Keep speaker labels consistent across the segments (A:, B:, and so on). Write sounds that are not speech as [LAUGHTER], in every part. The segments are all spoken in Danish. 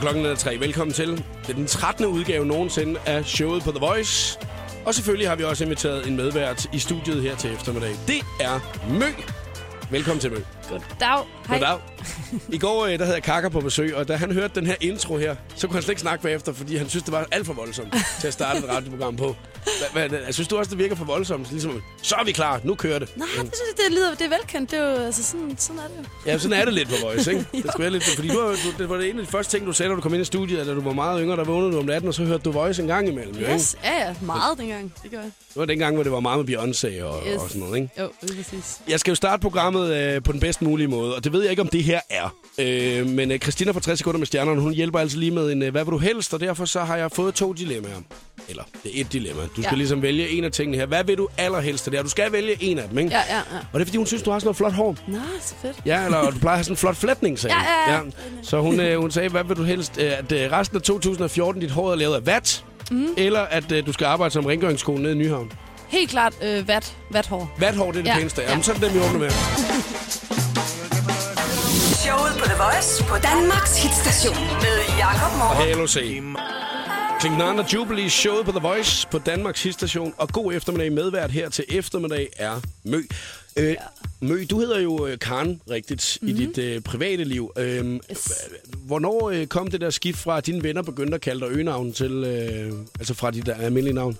A: klokken er tre. Velkommen til. Det er den 13. udgave nogensinde af showet på The Voice. Og selvfølgelig har vi også inviteret en medvært i studiet her til eftermiddag. Det er Mø. Velkommen til Mø.
B: Goddag. Hej.
A: Goddag. I går øh, der havde jeg Kaka på besøg, og da han hørte den her intro her, så kunne han slet ikke snakke bagefter, fordi han synes, det var alt for voldsomt til at starte et radioprogram på. Hvad, hvad, synes du også, det virker for voldsomt? Ligesom, så er vi klar, nu kører det.
B: Nej, det, synes jeg, det lyder, det er velkendt. Det er jo, altså sådan, sådan er det jo.
A: Ja, sådan er det lidt på Voice, ikke? Det skulle være lidt, fordi du, har- du, det var det en af de første ting, du sagde, da du kom ind i studiet, at da du var meget yngre, der vågnede du om natten, og så hørte du Voice en gang imellem, jo, ikke?
B: Yes, ja, ja, meget dengang. Det gør jeg.
A: Det var dengang, hvor det var meget med Beyoncé og, yes.
B: Yes.
A: og sådan noget, ikke?
B: Jo, det er præcis.
A: Jeg skal jo starte programmet øh, på den bedst mulige måde, og det ved jeg ikke, om det her er. Øh, men øh, Christina fra 60 sekunder med stjernerne, hun hjælper altså lige med en, øh, hvad vil du helst, og derfor så har jeg fået to dilemmaer. Eller, det er et dilemma. Du skal ja.
B: Ja.
A: ligesom vælge en af tingene her. Hvad vil du allerhelst af det her? Du skal vælge en af dem, ikke?
B: Ja, ja, ja.
A: Og det er, fordi hun synes, du har sådan noget flot hår.
B: Nå, så fedt.
A: Ja, eller du plejer at have sådan en flot flætning, sagde hun.
B: Ja, ja, ja.
A: Så hun, øh, hun sagde, hvad vil du helst, øh, at øh, resten af 2014 dit hår er lavet af vat,
B: Mhm.
A: mm. eller at øh, du skal arbejde som rengøringskone nede i Nyhavn?
B: Helt klart øh, vat, vathår.
A: Vathår, det er det ja.
B: Ja,
A: pæneste.
B: ja.
A: Jamen, så er det den, vi åbner med.
C: Showet på The Voice på Danmarks hitstation med Jakob Morup.
A: Halo C. Klingnan og Jubilee showet på The Voice på Danmarks hitstation. Og god eftermiddag medvært her til eftermiddag er Mø. Øh, Mø, du hedder jo øh, Karen rigtigt
B: Mhm.
A: mm-hmm. i dit øh, private liv. Øh,
B: Yes.
A: Hvornår øh, kom det der skift fra, at dine venner begyndte at kalde dig øgenavn til, øh, altså fra dit almindelige navn?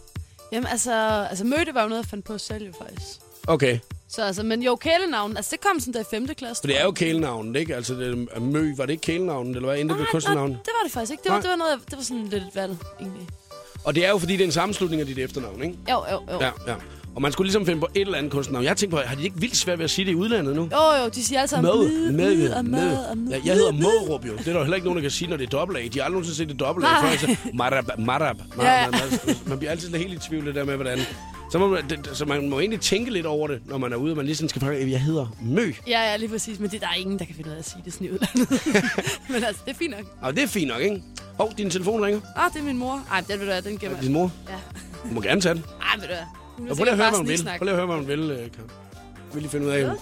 B: Jamen, altså, altså møde var jo noget, jeg fandt på selv jo faktisk.
A: Okay,
B: Så altså, men jo, kælenavn, altså det kom sådan der i 5. klasse.
A: for det er jo kælenavnet, ikke? Altså, det, er- Mø, var det ikke kælenavnet, eller hvad? Endte det blev kunstnernavnet?
B: det var det faktisk ikke. Det var,
A: Nej.
B: det var, noget, jeg- det var sådan lidt et valg, egentlig.
A: Og det er jo, fordi det er en sammenslutning af dit efternavn, ikke?
B: Jo, jo, jo.
A: Ja, ja. Og man skulle ligesom finde på et eller andet kunstnernavn. Jeg tænkte på, har de ikke vildt svært ved at sige det i udlandet nu?
B: Jo, jo, de siger altid
A: Med,
B: møde,
A: med,
B: møde og møde og
A: med.
B: møde.
A: Ja, jeg hedder Mårup jo. Det er der jo heller ikke nogen, der kan sige, når det er dobbelt A. De har aldrig nogensinde set det dobbelt A
B: Nej.
A: før. Jeg sagde, Marab,
B: [LAUGHS]
A: marab. Man,
B: Ah. Ja.
A: man, man, man bliver altid sådan helt i tvivl det der med, hvordan... Så, må man, det, så man må egentlig tænke lidt over det, når man er ude, og man lige sådan skal fange, jeg hedder Mø.
B: Ja, ja, lige præcis. Men det, der er ingen, der kan finde ud af at sige det sådan i [LAUGHS] udlandet. men altså, det er fint nok.
A: Og det er fint nok, ikke? Hov, din telefon ringer.
B: Ah, det er min mor. Ej, den vil du have, den gemmer jeg.
A: Din mor.
B: Ja.
A: Du må gerne tage den.
B: Ej, ved du hvad? Hun
A: Og
B: vil
A: prøv lige at høre, hvad
B: sikkert bare
A: hun vil.
B: snigsnakke.
A: Prøv lige at høre, hvad hun vil, øh, Karen. Vi vil lige finde ud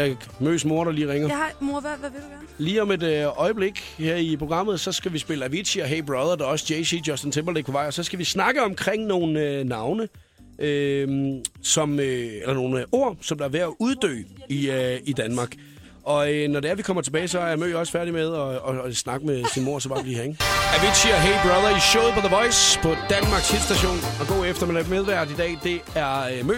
A: af, øh, Møs mor, der lige ringer.
B: Ja, hej, mor, hvad, hvad vil du gerne?
A: Lige om et øh, øjeblik her i programmet, så skal vi spille Avicii og Hey Brother, der er også JC, Justin Timberlake på vej, og så skal vi snakke omkring nogle øh, navne, øh, som, øh, eller nogle øh, ord, som der er ved at uddø i, øh, i Danmark. Og øh, når det er, vi kommer tilbage, så er Mø også færdig med at, at, at snakke med sin mor, så bare blive her, ikke? Avicii og Hey Brother i showet på The Voice på Danmarks hitstation. Og god eftermiddag medvært i dag, det er øh, Mø.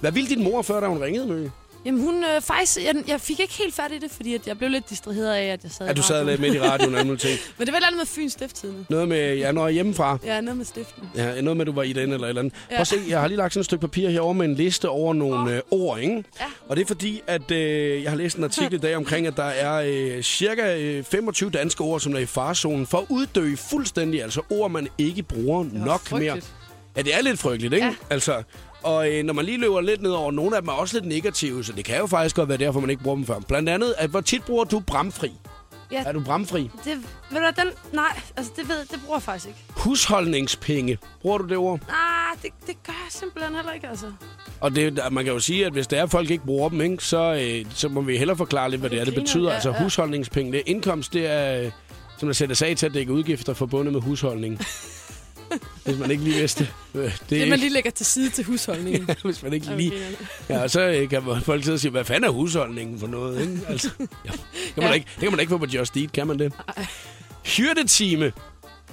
A: Hvad ville din mor, før da hun ringede, Mø?
B: Jamen, hun øh, faktisk... Jeg, jeg fik ikke helt fat i det, fordi at jeg blev lidt distraheret af, at jeg sad i
A: At du sad
B: radioen.
A: lidt midt i radioen og nogle ting.
B: Men det var et eller andet med Fyns Stifttidende.
A: Noget med, ja, når jeg er hjemmefra.
B: Ja, noget med stiften.
A: Ja, noget med, at du var i den eller et eller andet. Ja.
B: Ja.
A: Prøv at se, jeg har lige lagt sådan et stykke papir herover med en liste over nogle øh, ord, ikke?
B: Ja.
A: Og det er fordi, at øh, jeg har læst en artikel i dag omkring, at der er øh, cirka øh, 25 danske ord, som er i farzonen for at uddø fuldstændig. Altså ord, man ikke bruger nok
B: frygteligt.
A: mere. Ja, det er lidt frygteligt, ikke?
B: Ja.
A: Altså, og øh, når man lige løber lidt ned over, nogle af dem er også lidt negative, så det kan jo faktisk godt være derfor, man ikke bruger dem før. Blandt andet, at hvor tit bruger du bramfri?
B: Ja.
A: Er du bramfri?
B: Det, ved du hvad, den... Nej, altså det, ved, det bruger jeg faktisk ikke.
A: Husholdningspenge. Bruger du det ord?
B: Nej, det, det gør jeg simpelthen heller ikke, altså.
A: Og det, man kan jo sige, at hvis der er, at folk ikke bruger dem, ikke, så, øh, så må vi hellere forklare lidt, hvad det er, det
B: griner,
A: betyder.
B: ja,
A: altså
B: ja.
A: husholdningspenge, det er indkomst, det er, øh, som der sætter sag til at dække udgifter forbundet med
B: [LAUGHS]
A: husholdning. hvis man ikke lige vidste. Øh, det,
B: Det,
A: er
B: man
A: ikke,
B: lige lægger til side til husholdningen.
A: hvis man ikke
B: Ej,
A: lige...
B: hvor griner det.
A: [LAUGHS] Ja, og så øh, kan man- folk sidde og sige, hvad fanden er husholdningen for noget?
B: [LAUGHS]
A: Ikke? Altså, ja, det, kan man
B: Ja.
A: da ikke, det kan man da ikke få på Just Eat, kan man det? Hyrdetime.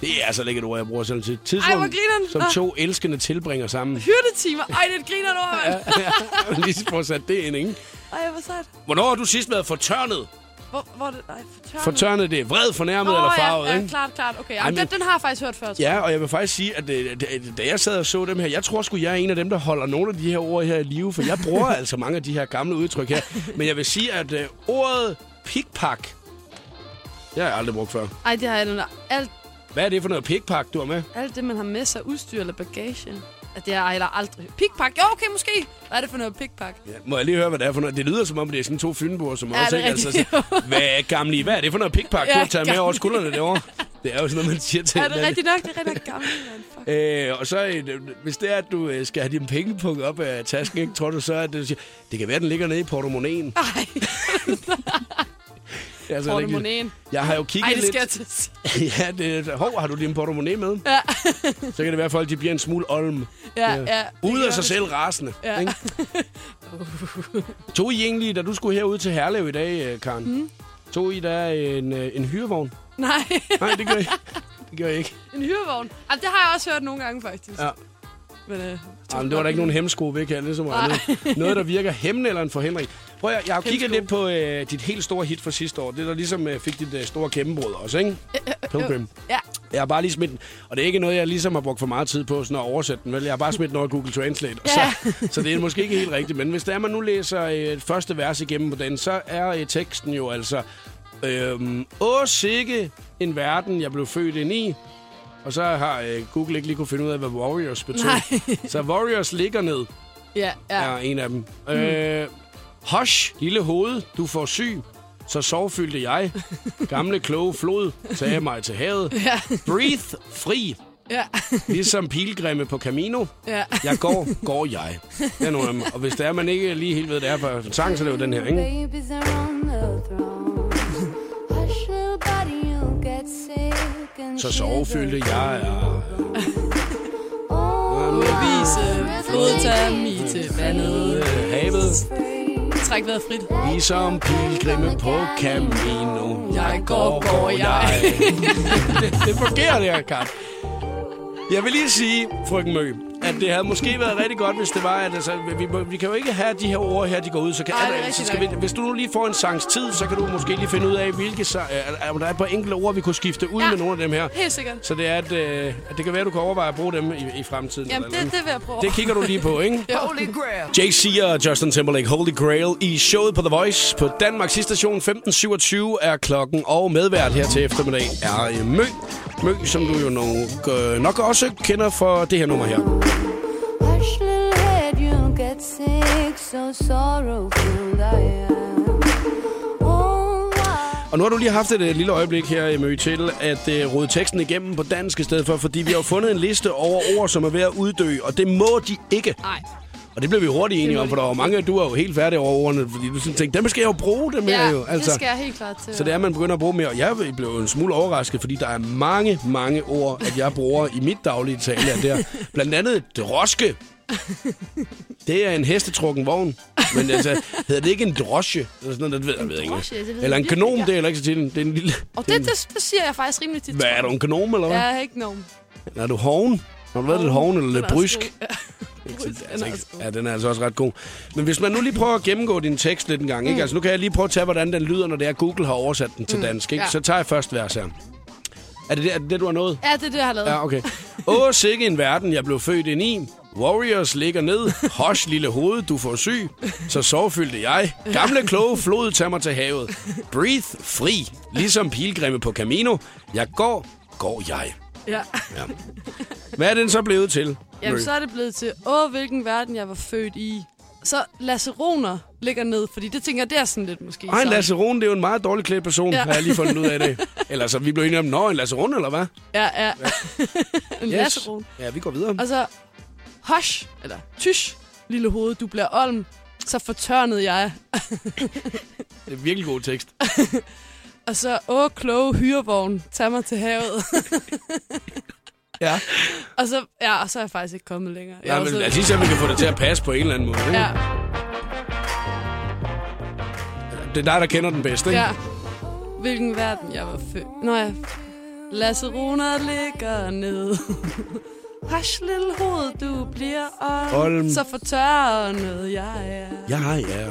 A: Det er altså ikke et ord, jeg bruger selv til.
B: Ej, hvor
A: Tidsrum,
B: grineren.
A: som
B: Nå.
A: to elskende tilbringer sammen.
B: [LAUGHS] Hyrdetimer. Ej, det er et griner ord, mand.
A: lige få sat det ind, ikke?
B: Ej, hvor sejt.
A: Hvornår har du sidst været fortørnet?
B: Hvor, hvor er det... Ej, fortørnet.
A: Fortørnet, det er vred, fornærmet
B: Åh,
A: oh, eller farvet,
B: ja,
A: ikke?
B: ja, klart, klart. Okay,
A: Ej,
B: Jamen,
A: men-
B: den, den har jeg faktisk hørt før.
A: Ja, og jeg vil faktisk sige, at øh, da- da jeg sad og så dem her, jeg tror sgu, jeg er en af dem, der holder nogle af de her ord her i live, for jeg
B: [LAUGHS]
A: bruger altså mange af de her gamle udtryk her. Men jeg vil sige, at øh, ordet pikpak, det har jeg aldrig brugt før.
B: Ej, det har jeg da- alt,
A: Hvad er det for noget pikpak, du har med?
B: alt det, man har med sig, udstyr eller bagage. At det har jeg da aldrig... Pikpak? Jo, okay, måske. Hvad er det for noget pikpak?
A: Ja, må jeg lige høre, hvad det er for noget? Det lyder som om, det er sådan to fynboer, som
B: Ja,
A: også
B: det er
A: ikke altså,
B: rigtigt,
A: så- hvad, gamle, hvad er det for noget pikpak, du
B: Ja,
A: har taget med
B: gamle.
A: over skuldrene
B: [LAUGHS]
A: derovre? Det er jo sådan noget, man siger til
B: Er det
A: hinanden.
B: rigtigt nok? Det er rigtig nok gammel, man. Fuck.
A: Øh, og så, øh, hvis det er, at du øh, skal have din pengepunkt op af tasken, ikke, tror du så, at Altså, det, siger, det kan være, at den ligger nede i portemonnaien.
B: Ej,
A: altså, jeg ikke-
B: Portemonnaien.
A: Jeg har jo kigget
B: Ej, det skal jeg
A: lidt.
B: til. at sige.
A: [LAUGHS] ja, det, hov, har du din portemonnaie med?
B: Ja,
A: Så kan det være, at folk de bliver en smule olm.
B: ja, ja.
A: Ude
B: Det
A: af sig
B: gør
A: selv rasende.
B: Ja.
A: Ikke? Tog I egentlig, da du skulle herud til Herlev i dag, øh, Karen? Mm. Tog I da en, øh, en hyrevogn?
B: det. [LAUGHS] Nej,
A: Nej, det gør I,
B: [LAUGHS]
A: det gør I ikke.
B: en hyrevogn. Altså, det har jeg også hørt nogle gange, faktisk.
A: Ja.
B: Men, øh,
A: Jamen, det var der ikke nogen hemmesko ved, kan jeg ligesom andet. Noget, der virker hemmende eller en forhindring. Prøv at, jeg har jo kigget
B: Hemmesko.
A: lidt på øh, dit helt store hit fra sidste år. Det, der ligesom øh, fik dit øh, store kæmpebrød også, ikke? Pilgrim.
B: Ja,
A: Jeg har bare lige smidt den. Og det er ikke noget, jeg ligesom har brugt for meget tid på sådan at oversætte den. Vel? Jeg har bare smidt den over i Google Translate. og Så, så det er måske ikke helt rigtigt. Men hvis der man nu læser øh, første vers igennem på den, så er øh, teksten jo altså... Øhm, Åh, sikke en verden, jeg blev født ind i. Og så har øh, Google ikke lige kunne finde ud af, hvad Warriors betød.
B: Nej.
A: [LAUGHS] Så Warriors ligger ned,
B: ja, ja.
A: er en af dem. Mm. Øh, Hush, lille hoved, du får syg. Så sovfyldte jeg. Gamle kloge flod sagde mig til havet.
B: [LAUGHS] Ja,
A: Breathe fri,
B: ja, [LAUGHS]
A: ligesom pilgrimme på Camino.
B: ja.
A: Jeg går, går jeg. Det er nogle af dem. Og hvis det er, man ikke lige helt ved, det er på sang, så er det jo den her, ikke?
D: Babies are on the throne. Hush, little body, you'll get sick and
A: Så sovefyldte jeg er...
D: Oh,
B: Vise flodtammi til vandet.
A: øh, Havet,
B: Træk vejret frit.
A: ligesom pilgrimme på Camino. Jeg går, går jeg. det, det fungerer, det her, Karen. Jeg vil lige sige, frøken Mø, at det havde måske været rigtig godt, hvis det var, at altså, vi, må- vi kan jo ikke have de her ord her, de går ud. Så kan,
B: Ej, det er
A: altså,
B: rigtigt
A: skal vi,
B: nok.
A: hvis du nu lige får en sangs tid, så kan du måske lige finde ud af, hvilke sang, øh, om der er et par enkelte ord, vi kunne skifte ud ja.
B: Ja.
A: med nogle af dem her.
B: Helt sikkert.
A: Så det er, at, øh, at det kan være, at du kan overveje at bruge dem i, i fremtiden.
B: Jamen,
A: eller
B: det, det vil jeg prøve.
A: det kigger du lige på, ikke?
C: Holy Grail.
A: JC og Justin Timberlake, Holy Grail, i showet på The Voice på Danmarks station 15.27 er klokken, og medvært her til eftermiddag er øh, Mø. Mø, som du jo nok, øh, nok også kender for det her nummer her.
D: Hush, little head, you'll get sick, so sorrowful I am. Oh, why?
A: Og nu har du lige haft et øh, lille øjeblik her, øh, Mø, til at øh, rode teksten igennem på dansk i stedet for, fordi vi har jo fundet en liste over ord, som er ved at uddø, og det må de ikke.
B: Nej.
A: Og det blev vi hurtigt enige
B: må
A: om, for
B: de
A: der var mange, du er jo helt færdig over ordene, fordi du sådan tænkte, dem skal jeg jo bruge, dem her
B: Ja,
A: jo. Altså,
B: det skal jeg helt klart til.
A: Så det er, at man begynder at bruge mere. Og jeg blev jo en smule overrasket, fordi der er mange, mange ord, at jeg bruger i mit daglige tale. At det er. Blandt andet droske. Det er en hestetrukken vogn. Men altså, hedder det ikke en drosje? Eller sådan noget, det ved jeg, ved jeg ikke.
B: drosje? Det ved jeg
A: eller en
B: virkelig
A: kanon,
B: ikke.
A: det er heller ikke så til. Det er en lille...
B: Og det, det, det siger jeg faktisk rimelig tit.
A: Hvad er du, en kanon eller hvad?
B: Jeg
A: Ja.
B: er ikke nogen.
A: Er du hoven? Har du været lidt hoven eller lidt brysk?
B: Brysk,
A: Altså, [LAUGHS] ikke,
B: altså,
A: ja, den er altså også ret god. Men hvis man nu lige prøver at gennemgå din tekst lidt en gang,
B: Mm.
A: ikke? Altså, nu kan jeg lige prøve at tage, hvordan den lyder, når det er, Google har oversat den til dansk, ikke?
B: ja.
A: Så tager jeg først vers her. Er det det, er det, det du har nået?
B: ja, det er det, jeg har lavet.
A: Ja, okay. Åh, sikke en verden, jeg blev født ind i. Warriors ligger ned. Hosh, lille hoved, du får syg. Så sovfyldte jeg. Gamle kloge flod tager mig til havet. Breathe fri, ligesom pilgrimme på Camino. Jeg går, går jeg.
B: Ja.
A: Ja. Hvad er den så blevet til?
B: Jamen,
A: Mø?
B: så er det blevet til, åh, hvilken verden jeg var født i. Så laceroner ligger ned, fordi det tænker jeg, det er sådan lidt måske.
A: Ej, en
B: sådan.
A: Lasserone, det er jo en meget dårlig klædt person, ja.
B: Ja.
A: har jeg lige fundet ud af
B: [LAUGHS]
A: det. Eller så vi blev enige om, nå, en Lasserone, eller hvad?
B: Ja, ja. [LAUGHS] en yes. laceron.
A: Ja, vi går videre.
B: Og så, hosh, eller tysh, lille hoved, du bliver olm. Så fortørnede jeg.
A: Det er virkelig god
B: [LAUGHS]
A: tekst.
B: Og så, åh, kloge hyrevogn, tag mig til havet. [LAUGHS]
A: Ja.
B: og så, ja, og så er jeg faktisk ikke kommet længere. Jeg
A: Nej,
B: var
A: men altså-
B: så-
A: lad os lige se, om vi kan få det til at passe på en eller anden måde. Ikke?
B: Ja,
A: Det er dig, der kender den bedst, ikke?
B: ja. Hvilken verden jeg var født. Nå ja, laceroner ligger ned. [LAUGHS] Hush, lille hoved, du bliver olm.
A: Olm.
B: Så fortørnet jeg er.
A: Ja, ja.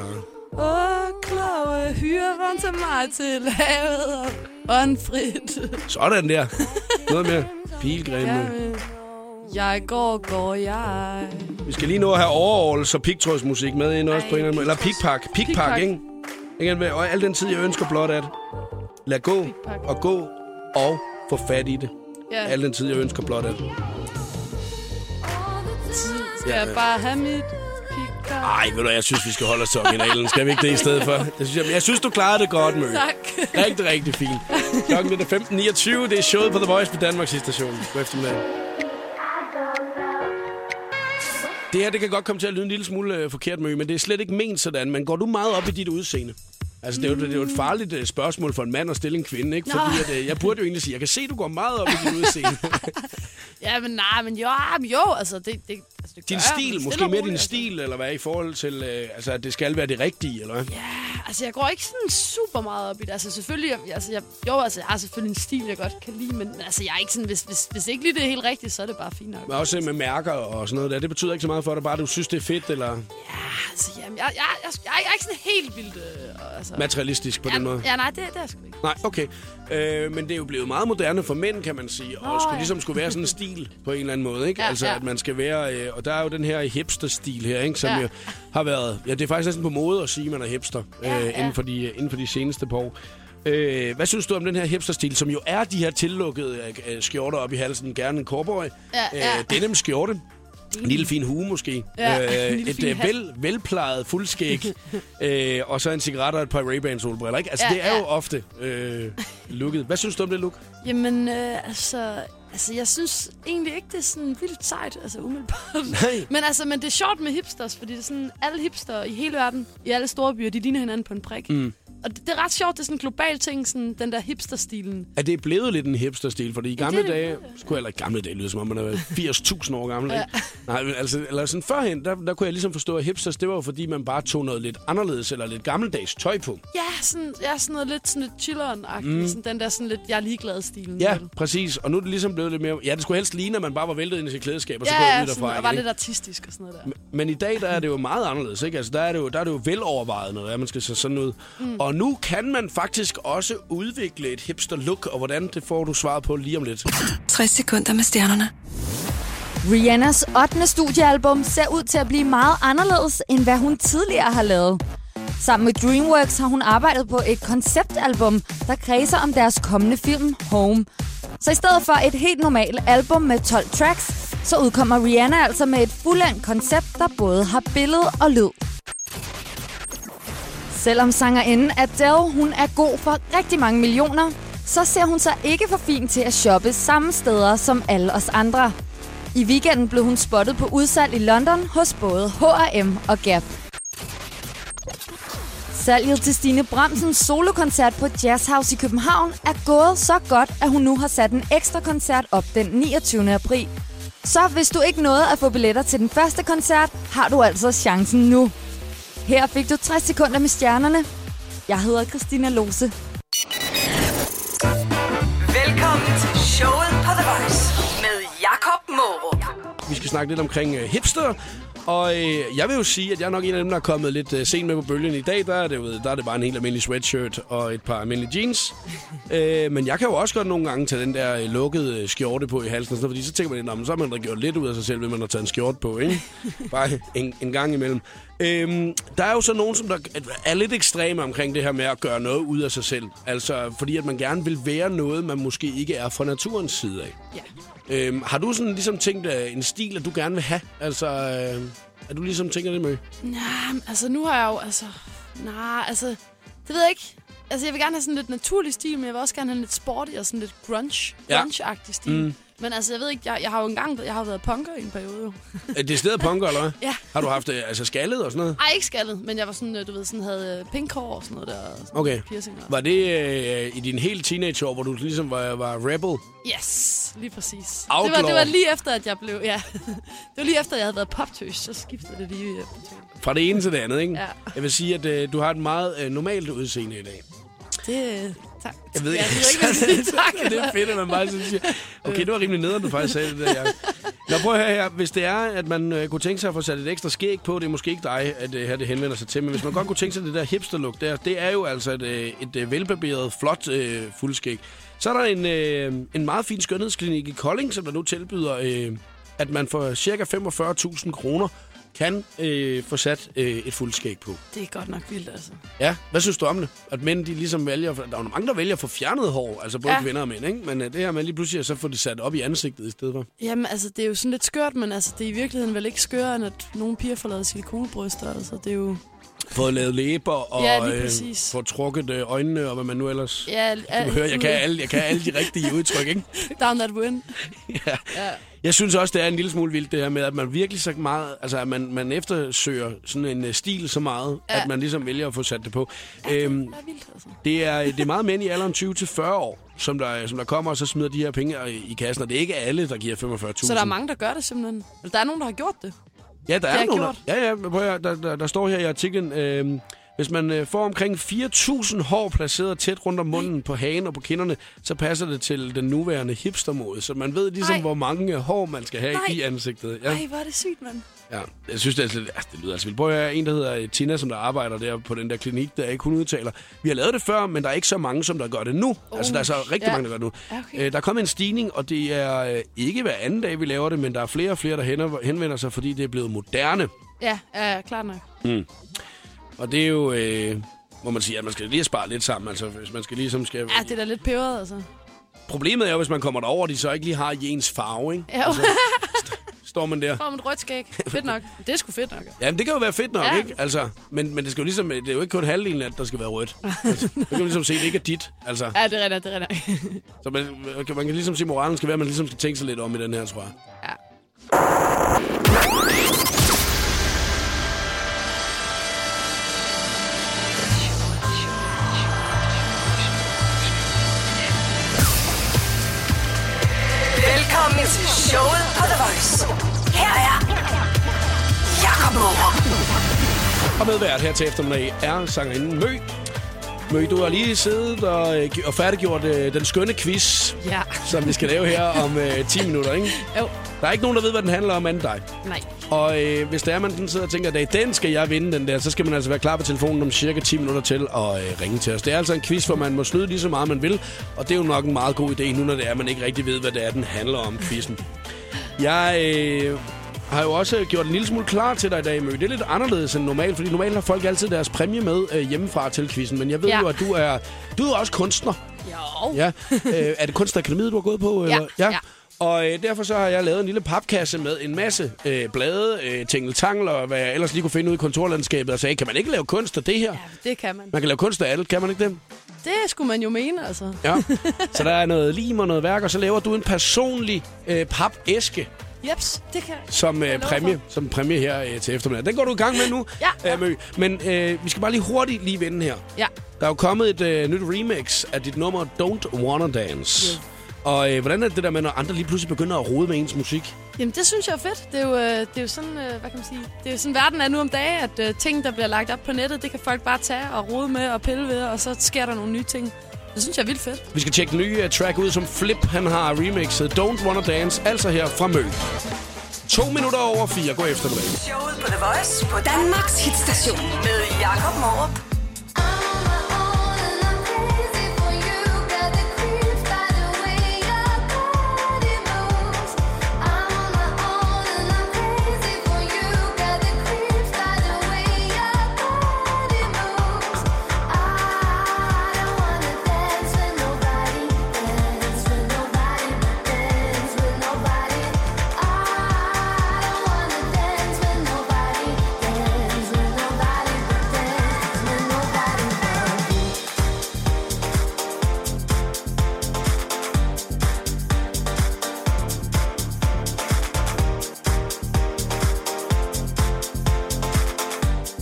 B: Åh, kloge hyrevogn, tag mig til havet og åndfrit.
A: Sådan der. Noget mere. Pilgrimme.
B: Jamen, Jeg går, går jeg.
A: Vi skal lige nå at have overalls og pigtrådsmusik med ind også på en eller anden måde. Eller pigpak. Pigpak,
B: Pigpak.
A: ikke? ikke? Og al den tid, jeg ønsker blot at lade gå
B: Pigpak.
A: og gå og få fat i det.
B: Ja,
A: Al den tid, jeg ønsker blot at...
B: skal
A: ja,
B: jeg
A: ja.
B: bare have mit pikker.
A: Ej, ved du, hvad, jeg synes, vi skal holde os til originalen. Skal vi ikke det i stedet for? Jeg synes, jeg, jeg synes du klarede det godt, Mø.
B: Tak.
A: Rigtig, rigtig fint. Klokken er 15.29. Det er showet på The Voice på Danmarks station. God eftermiddag. Det her, det kan godt komme til at lyde en lille smule øh, forkert, Mø, men det er slet ikke ment sådan. Men går du meget op i dit udseende? Altså, det er, jo, det er jo et farligt øh, spørgsmål for en mand at stille en kvinde, ikke? Fordi at, øh, jeg burde jo egentlig sige, jeg kan se, du går meget op i dit
B: [LAUGHS]
A: udseende.
B: Ja, men nej, men jo, men jo, altså det, det, altså, det
A: din
B: gør jeg, men
A: stil,
B: stille
A: måske
B: og
A: mere
B: roligt,
A: din
B: altså.
A: stil, eller hvad, i forhold til, øh, altså, at det skal være det rigtige, eller hvad?
B: Ja, altså jeg går ikke sådan super meget op i det. Altså selvfølgelig, jeg, altså, jeg, jo, altså jeg har selvfølgelig en stil, jeg godt kan lide, men, men altså jeg er ikke sådan, hvis, hvis, hvis ikke lige det er helt rigtigt, så er det bare fint nok.
A: Men også øh, med mærker og sådan noget der. Det betyder ikke så meget for dig, bare du synes, det er fedt, eller
B: Altså jamen, jeg, jeg, jeg, jeg, jeg er ikke sådan helt vildt, øh, og, altså...
A: materialistisk på
B: ja,
A: den måde.
B: ja, nej, det, det er sgu ikke.
A: Nej, okay. Øh, men det er jo blevet meget moderne for mænd, kan man sige. Og
B: Nå,
A: skulle
B: ja.
A: ligesom skulle være sådan en stil på en eller anden måde, ikke?
B: Ja,
A: altså,
B: ja.
A: at man skal være... Øh, og der er jo den her hipster-stil her, ikke? Som
B: Ja.
A: jo har været... Ja, det er faktisk næsten på mode at sige, at man er hipster.
B: Ja,
A: øh,
B: ja.
A: Inden, for de, inden for de seneste par år. Øh, hvad synes du om den her hipster-stil, som jo er de her tillukkede øh, øh, skjorter op i halsen? Gerne en cowboy.
B: Ja, ja.
A: Øh, denim skjorte. En lille fin hue måske.
B: Ja, [LAUGHS] en
A: øh,
B: lille
A: et
B: fin
A: øh,
B: hat.
A: vel, velplejet
B: [LAUGHS]
A: fuldskæg. øh, og så en cigaret og et par Ray-Ban solbriller. Ikke? Altså,
B: Ja,
A: det er jo
B: ja.
A: ofte øh, looket. Hvad synes du om det look?
B: Jamen, øh, altså, altså, jeg synes egentlig ikke, det er sådan vildt sejt, altså umiddelbart.
A: [LAUGHS] Nej.
B: Men altså, men det er sjovt med hipsters, fordi det er sådan, alle hipster i hele verden, i alle store byer, de ligner hinanden på en prik. Mm. Og det, det, er ret sjovt, det er sådan en global ting, sådan den der hipsterstilen.
A: Er det blevet lidt en hipster-stil? Fordi i gamle
B: det er det
A: dage... Skulle heller ikke gamle dage lyde, som om man
B: [LAUGHS]
A: er 80.000 år gammel. Ja. Nej, men altså, eller sådan førhen, der, der kunne jeg ligesom forstå, at hipsters, det var jo fordi, man bare tog noget lidt anderledes eller lidt gammeldags tøj på.
B: Ja, sådan, ja, sådan noget lidt, sådan lidt chilleren mm. sådan den der sådan lidt, jeg er ligeglad stilen.
A: Ja, præcis. Og nu er det ligesom blevet lidt mere... Ja, det skulle helst ligne, at man bare var væltet ind i sit klædeskab, og så
B: Ja,
A: ja,
B: ja
A: ud derfra.
B: sådan, og
A: igen,
B: var
A: ikke?
B: lidt artistisk og sådan noget der.
A: Men i dag, der er det jo meget anderledes, ikke? Altså, der er det jo, der er det jo velovervejet noget, at man skal se sådan ud. Mm. Og nu kan man faktisk også udvikle et hipster-look, og hvordan, det får du svaret på lige om lidt.
C: 60 sekunder med stjernerne.
E: Rihannas 8. studiealbum ser ud til at blive meget anderledes, end hvad hun tidligere har lavet. Sammen med DreamWorks har hun arbejdet på et konceptalbum, der kredser om deres kommende film Home. Så i stedet for et helt normalt album med 12 tracks, så udkommer Rihanna altså med et fuldendt koncept, der både har billede og lyd. Selvom sangerinden Adele, hun er god for rigtig mange millioner, så ser hun sig ikke for fin til at shoppe samme steder som alle os andre. I weekenden blev hun spottet på udsalg i London hos både H&M og Gap. Salget til Stine Bramsens solokoncert på Jazz House i København er gået så godt, at hun nu har sat en ekstra koncert op den 29. april. Så hvis du ikke nåede at få billetter til den første koncert, har du altså chancen nu. Her fik du 60 sekunder med stjernerne. Jeg hedder Christina Lose.
C: Velkommen til showet på The Voice med Jakob Morup.
A: Vi skal snakke lidt omkring øh, hipster. Og øh, jeg vil jo sige, at jeg er nok en af dem, der er kommet lidt øh, sent med på bølgen i dag. Der er, det, jo- der er det bare en helt almindelig sweatshirt og et par almindelige jeans. øh, men jeg kan jo også godt nogle gange tage den der øh, lukkede øh, skjorte på i halsen. og Sådan, noget, fordi så tænker man, lidt, "Nå, men så har man da gjort lidt ud af sig selv, ved man har taget en skjorte på. Ikke? Bare en, en gang imellem. Øhm, der er jo så nogen, som der er lidt ekstreme omkring det her med at gøre noget ud af sig selv. Altså fordi, at man gerne vil være noget, man måske ikke er fra naturens side af.
B: Ja.
A: Øhm, har du sådan ligesom tænkt øh, en stil, at du gerne vil have? Altså, øh, er du ligesom tænker det med?
B: Ja, altså nu har jeg jo, altså... Nej, altså... Det ved jeg ikke. Altså, jeg vil gerne have sådan lidt naturlig stil, men jeg vil også gerne have en lidt sporty og sådan lidt grunge.
A: Ja.
B: Grunge-agtig stil. Mm. Men altså, jeg ved ikke, jeg, jeg har jo engang jeg har været punker i en periode. jo.
A: Er det stedet punker, eller hvad?
B: Ja.
A: Har du haft øh, altså skaldet og sådan noget?
B: Ej, ikke skaldet, men jeg var sådan, øh, du ved, sådan havde øh, pink hår og sådan noget der. og Sådan
A: Okay.
B: Piercinger.
A: Var det øh, i din hele teenageår, hvor du ligesom var, var rebel?
B: Yes, lige præcis. Det var,
A: Outlaw.
B: det var lige efter, at jeg blev... Ja. [LAUGHS] det var lige efter, at jeg havde været poptøs, så skiftede det lige. øh,
A: Fra det ene til det andet, ikke?
B: Ja.
A: Jeg vil sige, at øh, du har et meget øh, normalt udseende i dag.
B: Det... øh, Tak.
A: Jeg ved
B: ja,
A: ikke,
B: det er jo ikke, hvad jeg skal sige tak.
A: det er fedt, at man bare sådan siger. Okay, det var rimelig nederen, du faktisk sagde det der, Jacob. Nå, prøv at høre her. Hvis det er, at man øh, kunne tænke sig at få sat et ekstra skæg på, det er måske ikke dig, at øh, her det henvender sig til, men hvis man godt kunne tænke sig det der hipster-look der, det er jo altså et, øh, et øh, velbarberet, flot øh, fuldskæg. Så er der en, øh, en meget fin skønhedsklinik i Kolding, som der nu tilbyder, øh, at man for cirka 45.000 kroner kan øh, få sat øh, et fuldskæg på.
B: [LAUGHS] Det er godt nok vildt, altså.
A: Ja, hvad synes du om det? At mænd, de ligesom vælger... Der er jo mange, der vælger at få fjernet hår, altså både ja.
B: Ja.
A: kvinder og mænd, ikke? Men øh, det her med lige pludselig så får det sat op i ansigtet i stedet for.
B: Jamen, altså, det er jo sådan lidt skørt, men altså, det er i virkeligheden vel ikke skørere, end at nogle piger får lavet silikonebryster. Altså, det er jo...
A: Fået lavet læber og
B: Ja, lige præcis.
A: fået trukket øh, øjnene og hvad man nu ellers...
B: Ja,
A: Du hører,
B: [LAUGHS]
A: jeg kan alle, jeg kan alle de rigtige udtryk, ikke?
B: Down that wind.
A: Ja.
B: [LAUGHS] Ja.
A: Jeg synes også, det er en lille smule vildt det her med, at man virkelig så meget, altså at man, man eftersøger sådan en øh, stil så meget, ja.
B: Ja.
A: at man ligesom vælger at få sat det på. Øhm,
B: Det er vildt, altså.
A: det, er, det er meget mænd i alderen 20-40 år, som der, som der kommer og så smider de her penge øh, i kassen, og det er ikke alle, der giver 45.000.
B: Så der er mange, der gør det simpelthen. Eller der er nogen, der har gjort det.
A: Ja, der er
B: har
A: nogen.
B: gjort.
A: Der, ja, ja, men prøv at, høre, der, der, der står her i artiklen, øh, hvis man øh, får omkring 4.000 hår placeret tæt rundt om munden på hagen og på kinderne, så passer det til den nuværende hipstermode, så man ved ligesom,
B: Ej.
A: hvor mange øh, hår man skal have
B: Nej.
A: i ansigtet. Ja.
B: Ej, hvor er det sygt, mand.
A: Ja, jeg synes, det, er, altså lidt- altså, det lyder altså vildt. Prøv at høre, en, der hedder øh, Tina, som der arbejder der på den der klinik, der ikke hun udtaler. Vi har lavet det før, men der er ikke så mange, som der gør det nu. Oh, altså, der er så rigtig
B: Uh, ja.
A: mange, der gør det nu.
B: Ja, okay.
A: Øh, der er kommet en stigning, og det er øh, ikke hver anden dag, vi laver det, men der er flere og flere, der henver- henvender sig, fordi det er blevet moderne.
B: Ja, ja, klart nok.
A: Og det er jo, øh, må man sige, at man skal lige spare lidt sammen. Altså, hvis man skal ligesom skal...
B: Ja, det er da lidt peberet, altså.
A: Problemet er jo, hvis man kommer derover, og de så ikke lige har i ens farve, ikke?
B: Ja, [LAUGHS] jo.
A: Står man der.
B: Får man et rødt skæg. Fedt nok. [LAUGHS] Det er sgu fedt nok.
A: Jamen, det kan jo være fedt nok, ja.
B: Ja.
A: ikke? Altså, men, men det, skal jo ligesom, det er jo ikke kun halvdelen af det, der skal være rødt. Altså, det kan man ligesom se, det ikke er dit. Altså,
B: Ja, det er rigtigt, det er rigtigt.
A: så man, man kan- man kan ligesom sige, moralen skal være, at man ligesom skal tænke sig lidt om i den her, tror jeg.
B: Ja.
C: Velkommen til showet på The Voice. Her er Jakob Morup.
A: Og medvært her til eftermiddag er sangerinden Mø. Mø, du har lige siddet og, øh, gi- og færdiggjort øh, den skønne quiz,
B: [LAUGHS] Ja.
A: som vi skal lave her om øh, 10 minutter, ikke?
B: Jo,
A: Der er ikke nogen, der ved, hvad den handler om, andet dig.
B: nej.
A: Og øh, hvis der er, man sådan sidder og tænker, at den skal jeg vinde, den der, så skal man altså være klar på telefonen om cirka 10 minutter til og øh, ringe til os. Det er altså en quiz, hvor man må snyde lige så meget, man vil, og det er jo nok en meget god idé, nu når det er, at man ikke rigtig ved, hvad det er, den handler om, quizzen. Jeg øh, har jo også gjort en lille smule klar til dig i dag, Mø. Det er lidt anderledes end normalt, fordi normalt har folk altid deres præmie med øh, hjemmefra til quizzen, men jeg ved ja.
B: Ja.
A: jo, at du er, du er jo også kunstner.
B: Jo.
A: Ja. Øh, er det Kunstakademiet, du har gået på?
B: Ja,
A: eller?
B: ja.
A: Og øh, derfor så har jeg lavet en lille papkasse med en masse øh, blade, øh, tingeltangler og hvad jeg ellers lige kunne finde ud i kontorlandskabet og sagde, kan man ikke lave kunst af det her?
B: Ja, det kan man.
A: Man kan lave kunst af alt, kan man ikke det?
B: Det skulle man jo mene, altså. [LAUGHS]
A: Ja. så der er noget lim og noget værk, og så laver du en personlig øh, papæske
B: Jeps, det kan
A: som øh,
B: lover
A: præmie, som præmie her øh, til eftermiddag. Den går du i gang med nu,
B: Ja, ja.
A: Øh, Mø. Men øh, vi skal bare lige hurtigt lige vende her.
B: Ja.
A: Der er jo kommet et øh, nyt remix af dit nummer Don't Wanna Dance. Og øh, hvordan er det der med, når andre lige pludselig begynder at rode med ens musik?
B: Jamen, det synes jeg er fedt. Det er jo, øh, det er jo sådan, øh, hvad kan man sige, det er jo sådan, verden er nu om dage, at øh, ting, der bliver lagt op på nettet, det kan folk bare tage og rode med og pille ved, og så sker der nogle nye ting. Det synes jeg er vildt fedt.
A: Vi skal tjekke den nye uh, track ud, som Flip han har remixet. Don't Wanna Dance, altså her fra Mø. To minutter over fire. God eftermiddag.
C: Showet på The Voice på Danmarks hitstation med Jakob Morup.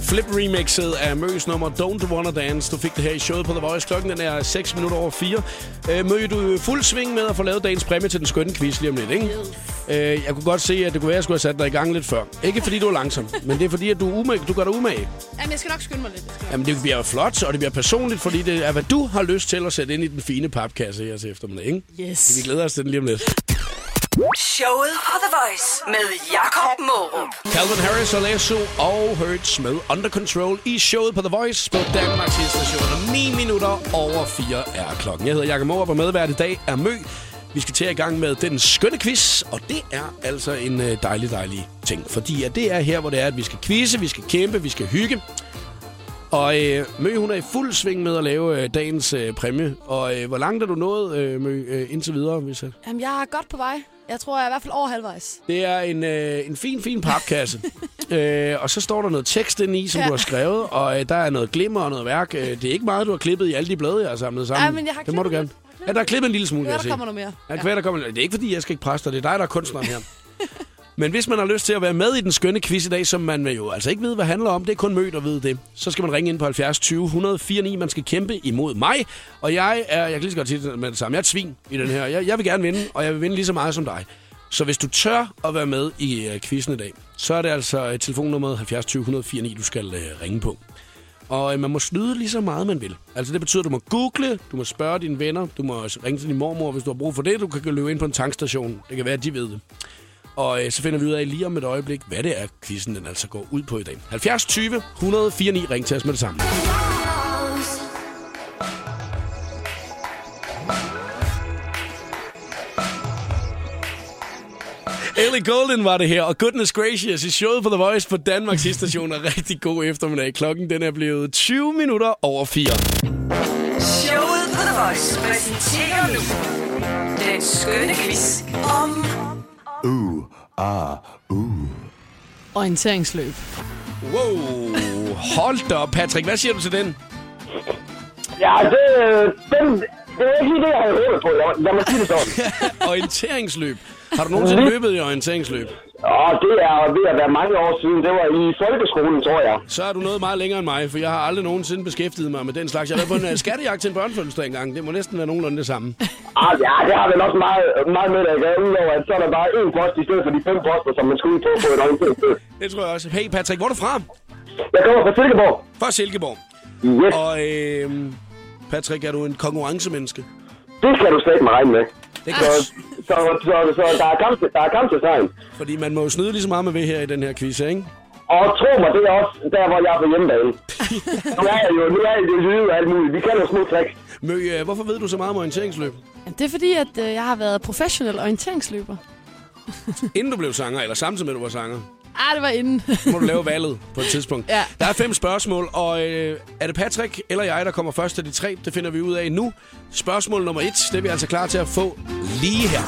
A: Flip remixet af Møs nummer Don't Wanna Dance. Du fik det her i showet på The Voice. Klokken den er 6 minutter over 4. Øh, Mø, du er i fuld sving med at få lavet dagens præmie til den skønne quiz lige om lidt, ikke? Øh, jeg kunne godt se, at det kunne være, at jeg skulle have sat dig i gang lidt før. Ikke fordi du er langsom, men det er fordi, at du, er umage. du gør dig umage.
B: Jamen, jeg skal nok skynde mig lidt. Jeg skal nok.
A: Jamen, det bliver jo flot, og det bliver personligt, fordi det er, hvad du har lyst til at sætte ind i den fine papkasse her til eftermiddag, ikke?
B: Yes.
A: Vi glæder os til den lige om lidt.
C: Showet på The Voice med Jakob Morup.
A: Calvin Harris og Lasso og Hurts med Under Control i showet på The Voice på Danmarks station. 9 minutter over 4 er klokken. Jeg hedder Jakob Morup, og medvært i dag er Mø. Vi skal til i gang med den skønne quiz, og det er altså en øh, dejlig, dejlig ting. Fordi at det er her, hvor det er, at vi skal quizze, vi skal kæmpe, vi skal hygge. Og øh, Mø, hun er i fuld sving med at lave øh, dagens øh, præmie. Og øh, hvor langt er du nået, øh, Mø, øh, indtil videre? Hvis jeg...
B: Jamen, jeg er godt på vej. Jeg tror, jeg er i hvert fald over halvvejs.
A: Det er en, øh, en fin, fin
B: [LAUGHS]
A: papkasse. øh, og så står der noget tekst ind i, som ja.
B: Ja.
A: du har skrevet, og øh, der er noget glimmer og noget værk. Øh, det er ikke meget, du har klippet i alle de blade, jeg har samlet sammen.
B: Ja, men jeg har
A: det må du
B: klippet
A: gerne.
B: lidt. Jeg har klippet
A: Ja, der er klippet en lille smule, kan
B: Ja,
A: jeg
B: der
A: se.
B: kommer noget mere.
A: Ja, kvæl, der kommer, det er ikke, fordi jeg skal ikke presse dig. Det er dig, der er kunstneren her. [LAUGHS] Men hvis man har lyst til at være med i den skønne quiz i dag, som man jo altså ikke ved, hvad handler om, det er kun mød, der ved det, så skal man ringe ind på 70 20 104 9. Man skal kæmpe imod mig, og jeg er, jeg kan lige så godt sige det med det samme, jeg er et svin i den her. Jeg, jeg vil gerne vinde, og jeg vil vinde lige så meget som dig. Så hvis du tør at være med i øh, quizzen i dag, så er det altså øh, telefonnummeret 70 20 104 9, du skal øh, ringe på. Og øh, man må snyde lige så meget, man vil. Altså det betyder, at du må google, du må spørge dine venner, du må også ringe til din mormor, hvis du har brug for det. Du kan løbe ind på en tankstation. Det kan være, at de ved det. Og øh, så finder vi ud af lige om et øjeblik, hvad det er, quizzen den altså går ud på i dag. 70 20 104 9. Ring til os med det samme. Ellie Golden var det her, og goodness gracious, i showet på The Voice på Danmarks station er rigtig god eftermiddag. Klokken den er blevet 20 minutter over 4.
C: Showet på The Voice præsenterer nu den skønne quiz om
F: Orienteringsløb.
A: Wow, hold da op, Patrick. Hvad siger du til den?
G: Ja, det, øh, den, det var ikke lige det, jeg havde håbet på. Lad mig, lad mig sige det
A: [LAUGHS]
G: sådan.
A: Orienteringsløb. Har du nogensinde løbet i orienteringsløb?
G: Og det er ved at være mange år siden. Det var i folkeskolen, tror jeg.
A: Så er du noget meget længere end mig, for jeg har aldrig nogensinde beskæftiget mig med den slags. Jeg har været på en øh, skattejagt til en børnefødselsdag engang. Det må næsten være nogenlunde det samme.
G: Ah, ja, det har vel også meget, meget med at gøre, udover at så er der bare én post i stedet for de fem poster, som man skulle ud på på et orienteringssted.
A: Det tror jeg også. Hey Patrick, hvor er du fra?
G: Jeg kommer fra Silkeborg.
A: Fra Silkeborg.
G: Yes,
A: Og øh, Patrick, er du en konkurrencemenneske?
G: det skal du slet mig regne med.
A: Det
G: Så,
A: kan [LAUGHS] også.
G: så, så, så der er kamp til, der er kamp til sejren.
A: Fordi man må jo snyde lige så meget med ved her i den her quiz, her, ikke?
G: Og tro mig, det er også der, hvor jeg er på
A: [LAUGHS]
G: hjemmebane. nu er jeg jo, nu er jeg jo lyde og alt muligt. Vi kan jo små tricks.
A: Mø, øh, hvorfor ved du så meget om orienteringsløb?
B: Jamen, det er fordi, at øh, jeg har været professionel orienteringsløber.
A: Inden du blev sanger, eller samtidig med, at du var sanger?
B: Ah, det var inden.
A: må du lave valget på et tidspunkt.
B: Ja.
A: Der er fem spørgsmål, og øh, er det Patrick eller jeg, der kommer først af de tre? Det finder vi ud af nu. Spørgsmål nummer et, det er vi altså klar til at få lige her.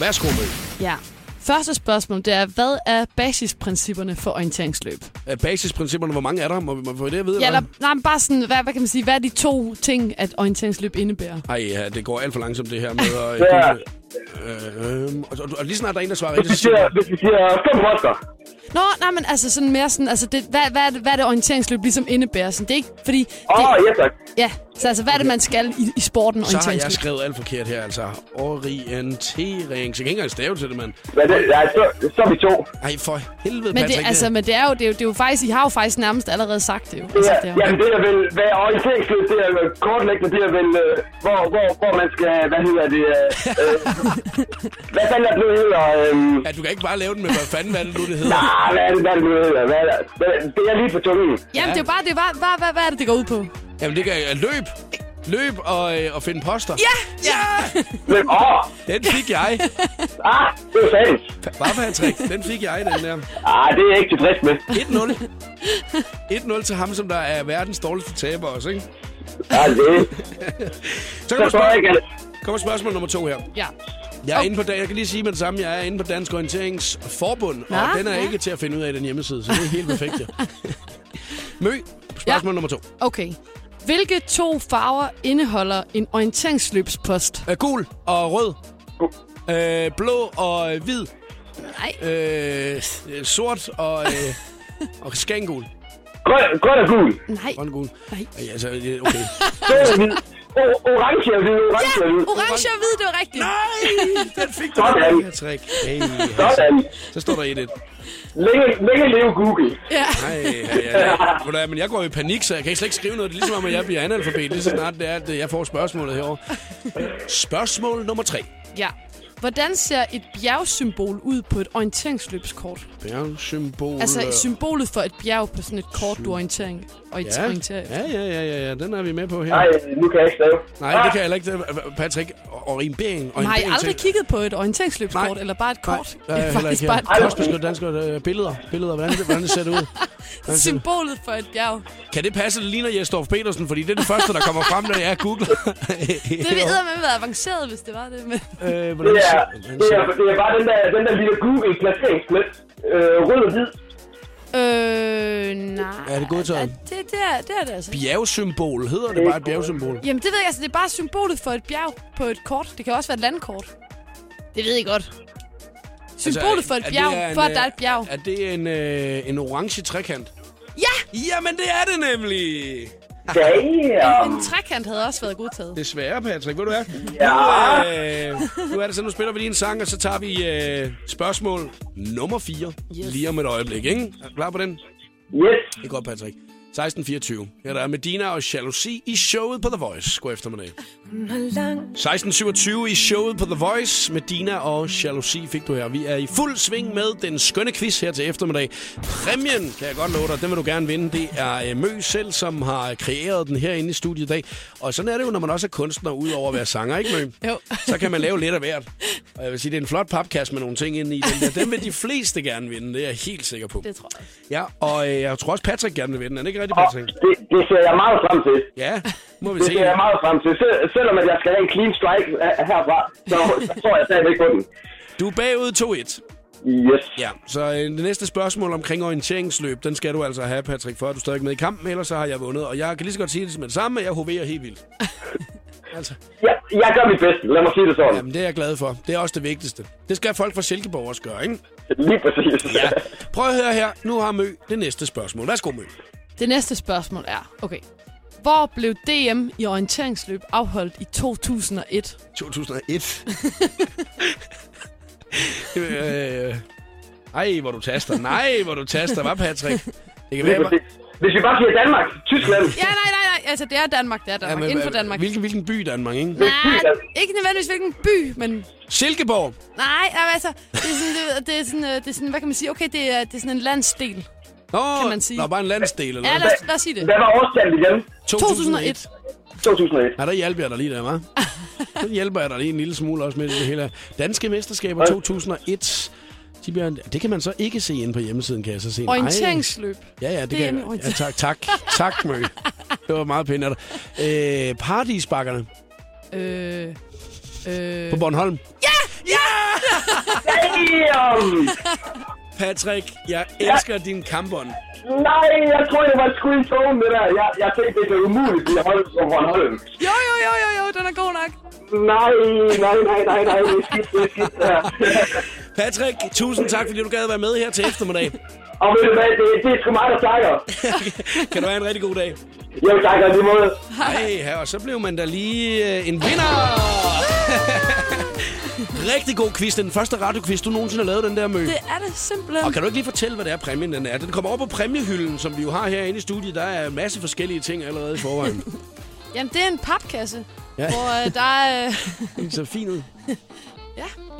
A: Værsgo, Mø.
F: [LAUGHS] Ja. Første spørgsmål, det er, hvad er basisprincipperne for orienteringsløb?
A: Øh, Basisprincipperne, hvor mange er der? Må vi må vi få det at vide?
F: Ja, eller,
A: eller
F: nej, men bare sådan, hvad, hvad kan man sige, hvad er de to ting, at orienteringsløb indebærer?
A: hvad? Ej, ja, det går alt for langsomt, det her med at...
G: Ja.
A: Øh, øh, og, og, og lige snart der er en, der svarer rigtigt,
G: Hvis vi
A: så siger
G: siger,
A: jeg,
G: hvis vi siger fem poster,
F: Nå, nej, men altså sådan mere sådan, altså det, hvad, hvad, er det, hvad er det orienteringsløb ligesom indebærer? Sådan, det er ikke, fordi...
G: Åh,
F: det,
G: oh, yes, tak.
F: Ja, så altså, hvad er det, man skal i, i sporten
A: så har jeg
F: orienteringsløb?
A: skrevet alt forkert her, altså. Orientering. Så jeg kan ikke engang stave til det, mand.
G: Ja, det, ja, så, så er vi to.
A: Ej, for helvede,
F: Men det,
A: Patrick.
F: altså, men det er jo, det er jo, det er jo faktisk, I har jo faktisk nærmest allerede sagt det jo.
G: Det
F: Altså,
G: er,
F: det er jo.
G: jamen, det er vel, hvad er orienteringsløb, det er vel kortlæggende, det er vel, øh, hvor, hvor, hvor man skal, hvad hedder det, øh,
F: [LAUGHS]
G: øh, hvad fanden er det nu hedder, øh,
A: Ja, du kan ikke bare lave den med, hvad fanden hvad er det nu, det hedder?
G: ah, hvad er det, hvad er det nu hedder, hvad er det, hvad- det er lige på tungen.
F: Jamen, det er jo bare, det er bare, hvad, hvad, hvad er det, det går ud på?
A: Jamen, det kan jeg løb. Løb og, øh, og finde poster.
F: Ja!
G: Men, åh,
A: Den fik jeg.
G: ah, det er sandt.
A: Bare for Patrick, den fik jeg, den der.
G: Ah, det er jeg ikke tilfreds med.
A: 1-0. 1-0 til ham, som der er verdens dårligste taber også, ikke?
G: Ja, Ah,
A: Så
G: det så
A: kommer,
G: tror jeg
A: spørg-
G: ikke, at
A: kommer spørgsmål nummer to her.
F: Ja.
A: Jeg er inde på, da- jeg kan lige sige med det samme, jeg er inde på Dansk Orienteringsforbund, og
F: Nå,
A: den er
F: ja.
A: ikke til at finde ud af i den hjemmeside, så det er helt perfekt,
F: [LAUGHS]
A: ja. Mø, spørgsmål nummer to.
F: Okay. Hvilke to farver indeholder en orienteringsløbspost?
A: Øh, gul og rød. Øh, blå og øh, hvid.
F: Nej.
A: Øh, øh, sort og, øh, og skangul.
G: grøn, grøn og gul,
F: Nej.
A: Grøn og gul.
F: Nej.
A: Øh, Altså, øh,
F: [LAUGHS]
A: okay.
G: rød og hvid, O- orange og hvid, orange og hvid.
F: Orange og hvid, det var rigtigt.
A: Nej, den fik du.
G: Sådan.
A: Det her trick. Hey, altså.
G: Sådan.
A: Så står der 1-1.
G: Længe, længe leve Google.
A: Nej, ja, ja, ja. men jeg går i panik, så jeg kan slet ikke skrive noget. Det er ligesom om, at jeg bliver analfabet, lige så snart det er, at jeg får spørgsmålet herovre. Spørgsmål nummer tre.
F: Ja. Hvordan ser et bjergsymbol ud på et orienteringsløbskort?
A: Bjergsymbol.
F: Altså symbolet for et bjerg på sådan et kort, du orientering, og
A: Ja.
F: orienterer efter.
A: ja, ja, ja, ja, ja, den er vi med på her.
G: Nej, nu kan jeg ikke stave.
A: Nej, det kan jeg heller ikke. Patrick, orientering.
F: Men Har I
A: orientering
F: aldrig
A: til-
F: kigget på et orienteringsløbskort, eller bare et kort?
A: Nej,
F: det er
A: heller
F: [LAUGHS] faktisk
A: ikke
F: bare
A: her.
F: et kort.
A: Kostbeskyttet dansk øh, billeder. Billeder, hvordan, det- hvordan det ser det ud. Hvordan ser det-
B: Symbolet for et bjerg.
A: Kan det passe, at det ligner Jesdorf Petersen? Fordi det er det første, der kommer frem, når jeg
B: [LAUGHS]
A: googler.
B: Det ville med være avanceret, hvis det var det. Men
A: øh, hvordan
G: Det
A: ser,
G: er,
A: hvordan
G: det
A: ser
G: er, det er bare den der, den der lille google placeringsplads. Øh, rød og hvid.
B: øh, nej.
A: Er det godtaget?
B: Ja, Det, det, er, det er det altså.
A: bjergsymbol? Hedder det bare et bjergsymbol?
B: Jamen, det ved jeg altså. Det er bare symbolet for et bjerg på et kort. Det kan også være et landkort. Det ved jeg godt. Symbolet
A: Altså,
B: for et
A: er- er
B: bjerg,
A: det her en,
B: for at der er
A: øh,
B: et bjerg.
A: Er det en, øh, en orange trekant?
B: Ja!
A: Jamen, det er det nemlig!
G: Damn!
B: En trekant havde også været godtaget.
A: Desværre, Patrick. Ved du hvad?
G: Ja.
A: Øh, nu er det sådan, nu spiller vi lige en sang, og så tager vi øh, spørgsmål nummer 4 yes. lige om et øjeblik, ikke? Er du klar på den? Det
G: Yes.
A: er godt, Patrick. 16.24. Her der er Medina og Jalousi i showet på The Voice. God eftermiddag. 16.27 i showet på The Voice. Medina og Jalousi fik du her. Vi er i fuld sving med den skønne quiz her til eftermiddag. Præmien, kan jeg godt love dig, den vil du gerne vinde. Det er øh, Mø selv, som har kreeret den herinde i studiet i dag. Og sådan er det jo, når man også er kunstner, udover at være sanger, ikke Mø?
B: Jo.
A: Så kan man lave lidt af hvert. Og jeg vil sige, det er en flot papkasse med nogle ting inde i den der. Den vil de fleste gerne vinde, det er jeg helt sikker på.
B: Det tror jeg.
A: Ja, og øh, jeg tror også, Patrick gerne vil vinde. Er det ikke rigtigt,
G: Og
A: Patrick?
G: det, det ser jeg meget frem til.
A: Ja, må vi
G: Det
A: se.
G: ser jeg meget frem til. Sel- selvom at jeg skal have en clean strike øh, herfra, så, så tror jeg stadigvæk på den.
A: Du er bagud 2-1.
G: Yes.
A: Ja, så øh, det næste spørgsmål omkring orienteringsløb, den skal du altså have, Patrick, for at du er stadig med i kampen, ellers så har jeg vundet. Og jeg kan lige så godt sige det med det samme, at jeg hoverer helt
G: [LAUGHS]
A: vildt. altså,
G: Jeg, jeg gør mit bedste, lad mig sige det sådan.
A: jamen, det er jeg glad for. Det er også det vigtigste. Det skal folk fra Silkeborg også gøre, ikke?
G: Lige præcis.
A: Ja. Prøv at høre her. Nu har Mø det næste spørgsmål. Værsgo, Mø.
F: Det næste spørgsmål er, okay. Hvor blev DM i orienteringsløb afholdt i 2001?
A: 2001. øh, ej, hvor du taster. Nej, hvor du taster. Hvad, Patrick? Det kan være,
G: Lige
A: jeg var-
G: præcis. Hvis vi bare siger Danmark, Tyskland,
B: Ja, nej, nej, nej. Altså, det er Danmark. Det er Danmark. Inden for Danmark.
A: Hvilken, hvilken by i Danmark, ikke?
B: Nej, ikke nødvendigvis hvilken by, men...
A: Silkeborg.
B: Nej, nej, altså, det er sådan, det, det er sådan, øh, det er sådan hvad kan man sige? Okay, det er, det er sådan en landsdel.
A: Nå,
B: Kan man sige.
A: Nå, bare en landsdel eller
B: Ja,
A: noget.
B: lad os, lad os sige det.
G: hvad var årstallet igen?
B: 2001.
G: 2001.
A: Ja, der hjælper jeg dig lige der, hva'? Så hjælper jeg dig lige en lille smule også med det hele. her. Danske mesterskaber 2001. De bliver, det kan man så ikke se inde på hjemmesiden, kan jeg så se. Nej.
F: Orienteringsløb.
A: Ja, ja, det, det
F: er
A: kan
F: en
A: jeg. Ja, tak, tak. Tak, Mø. Det var meget pænt af dig. Øh, Paradisbakkerne
F: Øh, øh,
A: på Bornholm.
G: Damn!
A: Patrick, jeg elsker din kampbånd.
G: Nej, jeg tror, jeg var sgu i togen med der. Jeg, jeg tænkte, det kan umuligt blive holdt på Bornholm.
B: Jo, jo, jo, jo, jo, den er god nok.
G: Nej, nej, nej, nej, nej, det er skidt, det er skidt. Ja.
A: Patrick, tusind tak, fordi du gad at være med her til eftermiddag.
G: Og ved du hvad, det, det er sgu mig, der takker.
A: kan du have en rigtig god dag.
G: Jeg takker lige måde.
A: Hej, her, og så blev man da lige øh, en vinder!
B: [LAUGHS]
A: Rigtig god quiz. Det er Den første radioquiz, du nogensinde har lavet, den der mø.
B: Det er det simpelthen.
A: Og kan du ikke lige fortælle, hvad det er, præmien den er? Den kommer over på præmiehylden, som vi jo har herinde i studiet. Der er en masse forskellige ting allerede i
B: [LAUGHS]
A: forvejen.
B: Jamen, det er en papkasse,
A: Ja.
B: ja. hvor øh, der er øh,
A: [LAUGHS] Den ser fin ud.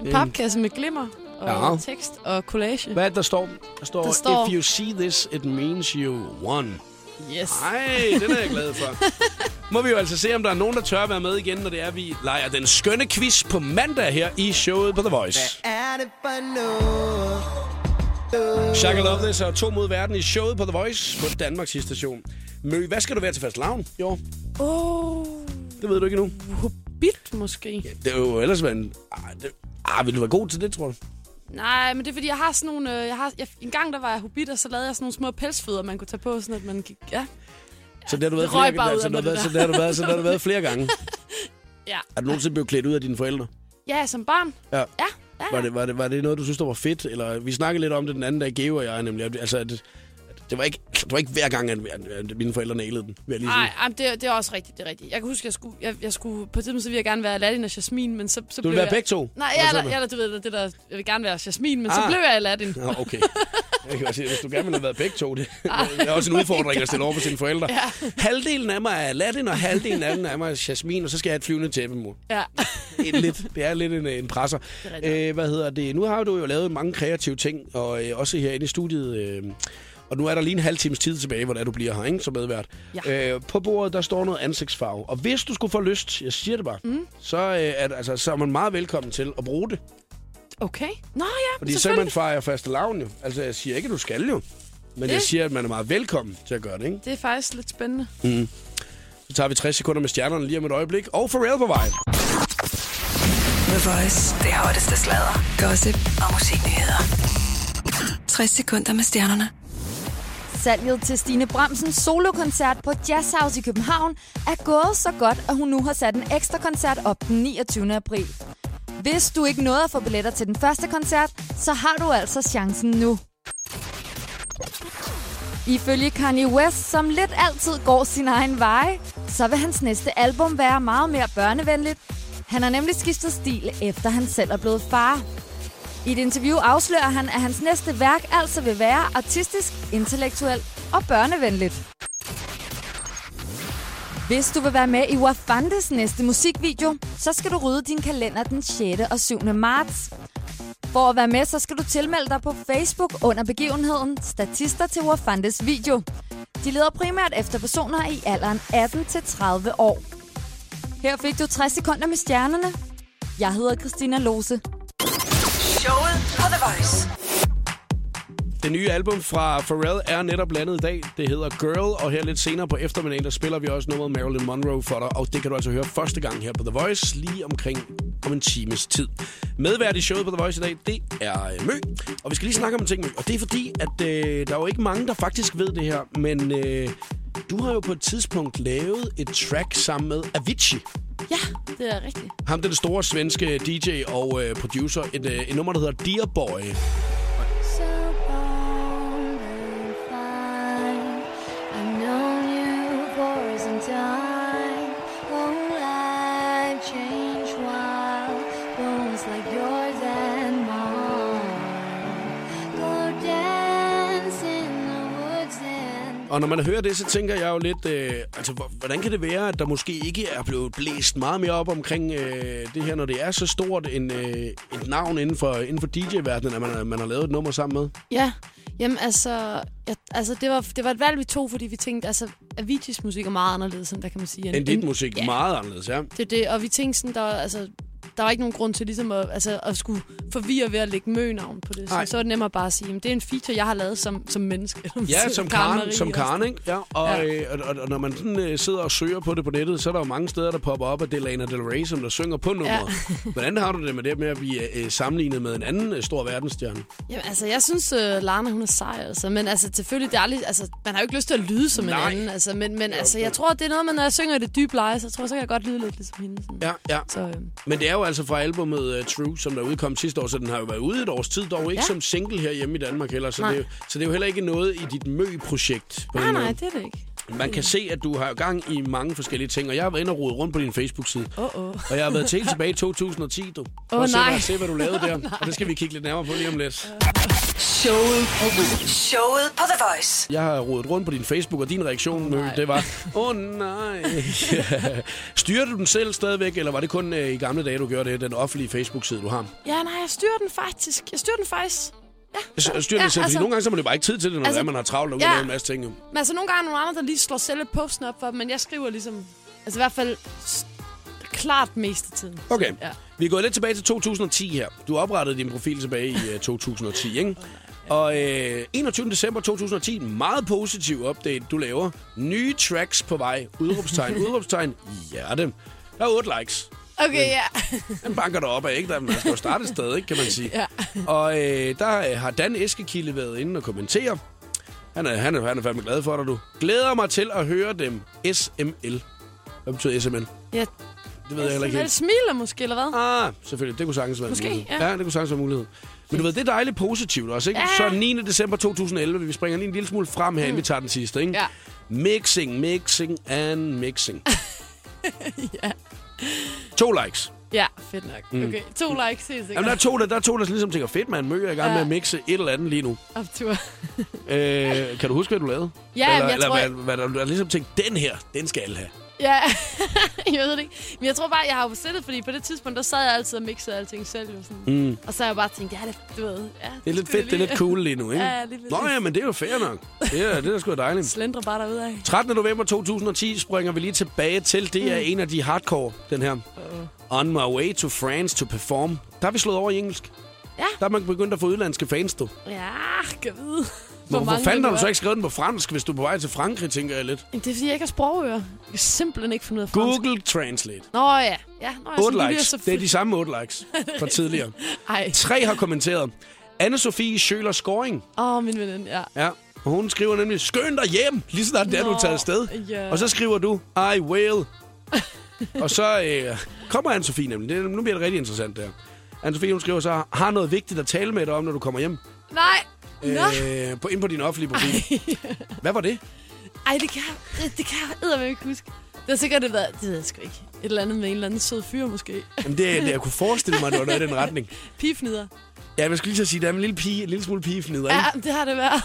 B: en papkasse med glimmer og
A: Ja.
B: ja. tekst og collage.
A: Hvad er det, der står? Der står,
B: Der står-
A: If you see this, it means you won.
B: Yes.
A: Ej, den er jeg glad
B: [LAUGHS]
A: for. Må vi jo altså se, om der er nogen, der tør at være med igen, når det er, vi leger den skønne quiz på mandag her i showet på The Voice. Shaka Love This og to mod verden i showet på The Voice på Danmarks station. Mø, hvad skal du være til fast lavn? Jo,
B: Åh,
A: det ved du ikke endnu.
B: hobbit måske.
A: Det er jo ellers været en... Ah, det... ah, vil du være god til det, tror du?
B: Nej, men det er fordi, jeg har sådan nogle... Øh, jeg har, jeg, en gang, der var jeg hobbit, og så lavede jeg sådan nogle små pelsfødder, man kunne tage på, sådan at man gik... Ja,
A: Så det har du været
B: Det røg
A: flere
B: bare
A: gange. Så det har
B: ud af mig,
A: du været-
B: det
A: så det har du været- så det har du været flere gange.
B: [LAUGHS] Ja.
A: Er du nogensinde blevet klædt ud af dine forældre?
B: ja som barn.
A: Ja.
B: Ja, ja.
A: Var det, var, det, var det noget, du synes, der var fedt? Eller, vi snakkede lidt om det den anden dag, Geo og jeg nemlig. Altså, at, at det, var ikke, det var ikke hver gang, at, at mine forældre nælede den, vil jeg lige sige.
B: Nej, det, er- det er også rigtigt, det er rigtigt. Jeg kan huske, jeg skulle, jeg, jeg skulle på et tidspunkt, så ville jeg gerne være Aladdin og Jasmin, men så, så
A: Du
B: blev
A: vil være
B: jeg...
A: begge to?
B: Nej,
A: Hvad
B: jeg,
A: så
B: eller,
A: med?
B: eller, du ved, det der, jeg vil gerne være Jasmin, men ah.
A: Ah.
B: så blev jeg Aladdin.
A: Nå, okay. Jeg kan godt sige, hvis du gerne ville have været begge to, det, det er også en udfordring at stille over på sine forældre. Ja. Halvdelen af mig er Aladdin, og halvdelen af den er mig er Jasmin, og så skal jeg have et flyvende tæppe, mor.
B: Ja. [LAUGHS]
A: Det er lidt, det er lidt en, en presser. Øh, hvad hedder det? Nu har du jo lavet mange kreative ting, og øh, også herinde i studiet. Øh, og nu er der lige en halv times tid tilbage, hvor det er, du bliver her, ikke? Som medvært. Ja. Øh, på bordet, der står noget ansigtsfarve. Og hvis du skulle få lyst, jeg siger det bare, mm. så, øh, er, det- altså, så er man meget velkommen til at bruge det.
B: Okay. Nå ja,
A: Fordi så man
B: selvfølgelig.
A: fejrer faste lavn jo. Altså, jeg siger ikke, at du skal jo. Men jeg
B: Det-
A: siger, at man er meget velkommen til at gøre det, ikke?
B: Det er faktisk lidt spændende.
A: Så tager vi 60 sekunder med stjernerne lige om et øjeblik. Og Pharrell på vej.
C: The Voice. Det hotteste sladder, gossip og musiknyheder. 60 sekunder med stjernerne.
E: Salget til Stine Bramsens solokoncert på Jazz House i København er gået så godt, at hun nu har sat en ekstra koncert op den 29. april. Hvis du ikke nåede at få billetter til den første koncert, så har du altså chancen nu. Ifølge Kanye West, som lidt altid går sin egen vej, så vil hans næste album være meget mere børnevenligt. Han har nemlig skiftet stil, efter han selv er blevet far. I et interview afslører han, at hans næste værk altså vil være artistisk, intellektuelt og børnevenligt. Hvis du vil være med i Wafandes næste musikvideo, så skal du rydde din kalender den 6. og 7. marts. For at være med, så skal du tilmelde dig på Facebook under begivenheden Statister til Wafandes video. De leder primært efter personer i alderen 18-30 år. Her fik du 60 sekunder med stjernerne. Jeg hedder Christina Lose.
C: Showet på The Voice.
A: Det nye album fra Pharrell er netop landet i dag. Det hedder Girl, og her lidt senere på eftermiddagen, der spiller vi også nummeret Marilyn Monroe for dig. Og det kan du altså høre første gang her på The Voice, lige omkring om en times tid. Medvært i showet på The Voice i dag, det er øh, Mø. Og vi skal lige snakke om en ting, Mø. Og det er fordi, at øh, der er jo ikke mange, der faktisk ved det her, men øh, du har jo på et tidspunkt lavet et track sammen med Avicii.
B: Ja, det er rigtigt.
A: Ham, den store svenske DJ og øh, producer. Et, øh, et nummer, der hedder Dear Boy.
D: So bold and fine. I've known you for some time. Won't life change wild? Bones like yours and mine. Go dance in the woods and
A: Og når man hører det, så tænker jeg jo lidt, øh, altså, hvor- hvordan kan det være, at der måske ikke er blevet blæst meget mere op omkring øh, det her, når det er så stort en, øh, et navn inden for, inden for DJ-verdenen, at man, man har lavet et nummer sammen med?
B: Ja, jamen altså, jeg, altså det, var, det var et valg, vi tog, fordi vi tænkte, altså Avicii's musik er meget anderledes, som der kan man sige.
A: End dit musik
B: ja.
A: meget anderledes, ja.
B: Det er det, og vi tænkte sådan, der, var- altså, der var ikke nogen grund til ligesom at, altså, at skulle forvirre ved at lægge mønavn på det. Så,
A: Nej.
B: så er det nemmere bare at sige, at det er en feature, jeg har lavet som, som altså. menneske.
A: Ja, som Karen,
B: Marie
A: som
B: og
A: Karen, ikke? Ja, og,
B: Ja.
A: Øh, og, og, og når man sådan, øh, sidder og søger på det på nettet, så er der jo mange steder, der popper op, at det er Lana Del Rey, som der synger på nummeret. Ja. [LAUGHS] Hvordan har du det med det med at blive øh, sammenlignet med en anden øh, stor verdensstjerne?
B: Jamen, altså, jeg synes, uh, Lana, hun er sej, altså. Men altså, selvfølgelig, det er aldrig, altså, man har jo ikke lyst til at lyde som
A: Nej.
B: en anden. Altså, men men altså, jeg tror, det er noget med, når jeg synger i det dybe leje, så jeg tror jeg, så kan jeg godt lyde lidt ligesom hende. Sådan.
A: Ja, ja.
B: Så, øhm,
A: Men det er jo altså fra albumet uh, True, som der udkom sidste år, så den har jo været ude et års tid, dog ikke ja.
B: Ja.
A: som single herhjemme i Danmark heller. Så det,
B: Nej.
A: er jo, så det er jo heller ikke noget i dit mø-projekt. på
B: nej,
A: den
B: nej,
A: måde.
B: det er det ikke.
A: Man kan se, at du har gang i mange forskellige ting, og jeg har været inde og rodet rundt på din Facebook-side.
B: Åh, oh, åh. Oh.
A: Og jeg har været til helt tilbage i 2010, du. For
B: Åh,
A: at se,
B: nej.
A: hvad- Se, hvad du lavede
B: [LAUGHS]
A: der. og det skal vi kigge lidt nærmere på lige om lidt.
C: Showet på The Voice. Showet på The Voice.
A: Jeg har rodet rundt på din Facebook, og din reaktion, oh, det var, åh oh,
B: [LAUGHS]
A: nej. Ja. Styrer du den selv stadigvæk, eller var det kun øh, i gamle dage, du gjorde det, den offentlige Facebook-side, du har?
B: Ja, nej, jeg styrer den faktisk. Jeg styrer den faktisk.
A: Så styrer ja,
B: Ja,
A: det selv, altså,
B: altså-
A: fordi nogle gange så har man jo bare ikke tid til det, når
B: Altså-
A: altså, man har travlt og ja.
B: Ja.
A: lave en masse ting. jo.
B: Men altså, nogle gange er der nogle andre, der lige slår selve posten op for dem, men jeg skriver ligesom... Altså, i hvert fald s- klart mest af tiden.
A: Okay,
B: Ja.
A: vi er gået lidt tilbage til 2010 her. Du oprettede din profil tilbage i uh, 2010, ikke? Og øh, 21. december 2010, meget positiv update, du laver. Nye tracks på vej. [LAUGHS] Udråbstegn, udråbstegn, hjerte. Der er 8 likes.
B: Okay, ja.
A: Den banker der op af, ikke? Der, man skal jo starte et sted, ikke, kan man sige.
B: Ja.
A: Og øh, der øh, har Dan Eskekilde været inde og kommentere. Han er, han, er, han er fandme glad for dig, du. Glæder mig til at høre dem. SML. Hvad betyder SML?
B: Ja.
A: Det ved jeg heller ikke
B: Vel
A: helt.
B: smiler måske, eller hvad?
A: Ah, selvfølgelig. Det kunne sagtens være
B: Måske,
A: en mulighed.
B: ja.
A: ja. det kunne sagtens være en mulighed. Men du ved, det er dejligt positivt også, ikke?
B: Ja.
A: Så 9. december 2011, vi springer lige en lille smule frem her, mm. inden vi tager den sidste, ikke?
B: Ja.
A: Mixing, mixing and mixing.
B: [LAUGHS] Ja.
A: To likes.
B: Ja, fedt nok. Okay, to likes helt
A: Mm. Jamen, der er
B: sikkert.
A: to, der, der, er to, der ligesom tænker, fedt mand, Mø er i gang med
B: Ja.
A: at mixe et eller andet lige nu.
B: Optur.
A: Øh, kan du huske, hvad du lavede?
B: Ja,
A: eller,
B: men jeg
A: eller
B: tror-
A: Hvad, hvad, der, du har ligesom tænkt, den her, den skal alle have.
B: [LAUGHS] Ja, [LAUGHS] jeg ved det ikke. Men jeg tror bare, jeg har jo bestilt, fordi på det tidspunkt, der sad jeg altid og mixede alting selv. Jo, sådan.
A: Mm.
B: Og så har jeg bare tænkt, ja, det, du ved, ja,
A: Det er lidt fedt, det er lidt cool lige nu, ikke?
B: Ja, lige
A: Nå
B: præcis.
A: ja, men det er jo fair nok. Det er, det er da sgu da dejligt.
B: Slendre bare derudad. af.
A: 13. november 2010 springer vi lige tilbage til. Det er
B: Mm.
A: en af de hardcore, den her. On my way to France to perform. Der er vi slået over i engelsk.
B: Ja.
A: Der er man begyndt at få udlandske fans, du.
B: Ja, kan vide.
A: Men hvorfor fanden
B: det
A: har du
B: gør.
A: så ikke skrevet den på fransk, hvis du er på vej til Frankrig, tænker jeg lidt.
F: Jamen, Det er fordi, jeg ikke har sprogører. Jeg kan simpelthen ikke finde ud af fransk.
A: Google Translate.
F: Nå ja. ja nå, ja,
A: 8
F: sådan, du lyder
A: likes.
F: Altså, så
A: Det er de samme 8 likes fra tidligere.
F: Ej,
A: Tre har kommenteret. Anne-Sophie Sjøler Scoring.
F: åh, min veninde, ja.
A: Ja. Og hun skriver nemlig, skøn dig hjem, lige snart det er, du
F: Nå,
A: tager afsted.
F: ja.
A: Og så skriver du, I will. og så øh, kommer Anne-Sophie nemlig. Det, er- nu bliver det rigtig interessant der. Anne-Sophie, hun skriver så, har noget vigtigt at tale med dig om, når du kommer hjem.
B: Nej. Nå.
A: Øh, på, ind på din offentlige profil. Hvad var det?
B: Ej, det kan jeg, det, det kan jeg med ikke huske. Det har sikkert det været, det ved jeg sgu ikke. Et eller andet med en eller anden sød fyr
F: [LAUGHS]
B: måske.
A: Jamen, det, det, jeg kunne forestille mig, det var noget i den retning.
B: Pifnider.
A: Ja, men jeg skulle lige så sige, der er en lille, pige, en lille smule pigefnider, ikke?
B: Ja, det har det
F: [LAUGHS]
B: været.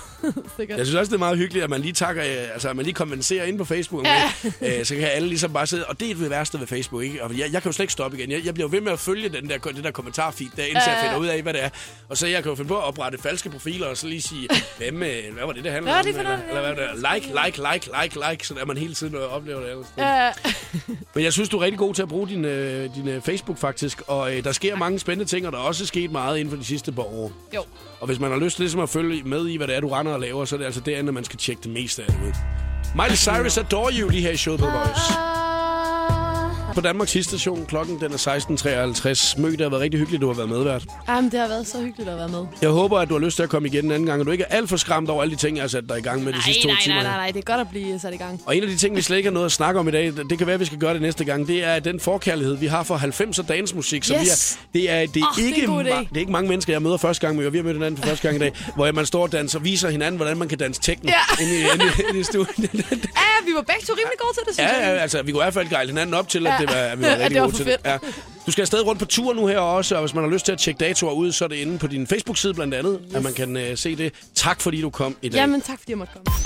B: sikkert.
A: Jeg synes også, det er meget hyggeligt, at man lige takker, øh, altså, at man lige kommenterer ind på Facebook. Ja. Med, [LAUGHS] øh, så kan alle ligesom bare sidde, og det er det værste ved Facebook, ikke? Og jeg, jeg kan jo slet ikke stoppe igen. Jeg, jeg bliver jo ved med at følge den der, det der kommentarfeed, der, indtil ja. jeg finder ud af, hvad det er. Og så jeg kan jo finde på at oprette falske profiler, og så lige sige, [LAUGHS] hvem, øh, hvad var det, det handler
B: Hvad var
A: om?
B: det for
A: eller,
B: noget,
A: eller,
B: det
A: hvad var det? Like, like, like, like, like, så er man hele tiden øh, oplever det. Ellers. Ja.
F: Ja,
A: Men jeg synes, du er rigtig god til at bruge din, øh, din øh, Facebook, faktisk. Og øh, der sker mange spændende ting, og der er også sket meget inden for de sidste par år.
F: jo.
A: Og hvis man har lyst til ligesom at følge med i, hvad det er, du render og laver, så er det altså derinde, man skal tjekke det meste af det ud. Miley Cyrus adore you lige her i showet på Voice. På Danmarks station, klokken den er 16.53. Møg, det har været rigtig hyggeligt, du har været medvært.
F: Jamen, det har været så hyggeligt at være med.
A: Jeg håber, at du har lyst til at komme igen en anden gang, og du ikke er alt for skræmt over alle de ting, jeg har sat dig i gang med de sidste to
F: nej,
A: timer.
F: nej,
A: her.
F: nej, nej, det er godt at blive sat i gang.
A: Og en af de ting, vi slet ikke har noget at snakke om i dag, det kan være, at vi skal gøre det næste gang, det er den forkærlighed, vi har for 90'er dansmusik. Som
F: Yes.
A: vi er, det, er, det, er
F: Åh, det er
A: ikke
F: en god idé.
A: ma- det er ikke mange mennesker, jeg møder første gang, men vi har mødt hinanden for første gang i dag, [LAUGHS] hvor man står og danser og viser hinanden, hvordan man kan danse tekno ja. inde, i, inde, i- inde i
F: [LAUGHS]
A: studiet.
F: Ja, vi var begge to rimelig gode til det, synes
A: Ja, ja,
F: jeg.
A: altså, vi kunne i hvert fald gejle hinanden op til, at det var, at vi
F: [LAUGHS]
A: var
F: At
A: rigtig
F: det var
A: gode
F: for
A: til det. Ja. Du skal afsted rundt på tur nu her også, og hvis man har lyst til at tjekke datoer ud, så er det inde på din Facebook-side blandt andet, yes. at man kan uh, se det. øh, Tak fordi du kom i dag.
F: Jamen, tak fordi jeg måtte komme.